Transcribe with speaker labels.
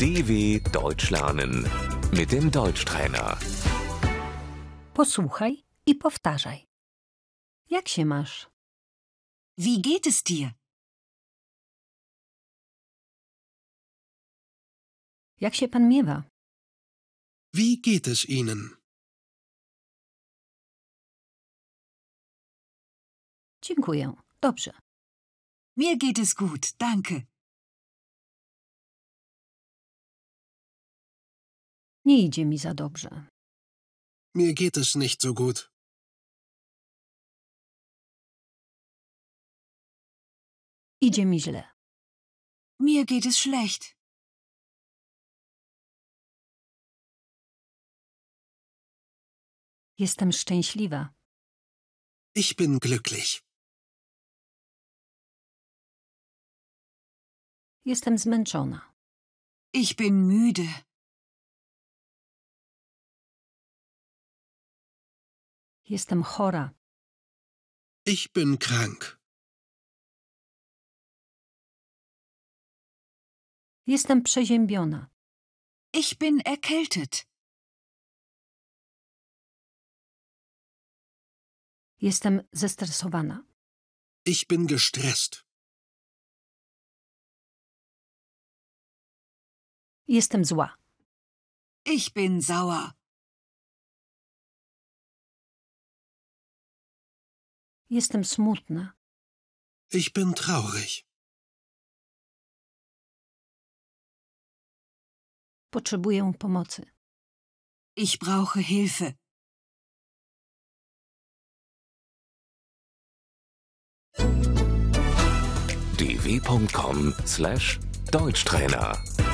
Speaker 1: DW Deutsch lernen mit dem Deutschtrainer.
Speaker 2: Posłuchaj i powtarzaj. Jak się masz?
Speaker 3: Wie geht es dir?
Speaker 2: Jak się pan miewa?
Speaker 4: Wie geht es Ihnen?
Speaker 2: Dziękuję. Dobrze.
Speaker 3: Mir geht es gut, danke.
Speaker 2: Nie idzie mi za dobrze.
Speaker 4: Mir geht es nicht so gut.
Speaker 2: Idzie mi źle.
Speaker 3: Mir geht es schlecht.
Speaker 2: Jestem szczęśliwa.
Speaker 4: Ich bin glücklich.
Speaker 2: Jestem zmęczona.
Speaker 3: Ich bin müde.
Speaker 2: Jestem chora.
Speaker 4: Ich bin krank.
Speaker 2: Jestem przeziębiona.
Speaker 3: Ich bin erkältet.
Speaker 2: Jestem zestresowana.
Speaker 4: Ich bin gestresst.
Speaker 2: Jestem zła.
Speaker 3: Ich bin sauer.
Speaker 2: Jestem smutna.
Speaker 4: Ich bin traurig.
Speaker 2: Potrzebuję pomocy.
Speaker 3: Ich brauche Hilfe.
Speaker 1: dw.com/deutschtrainer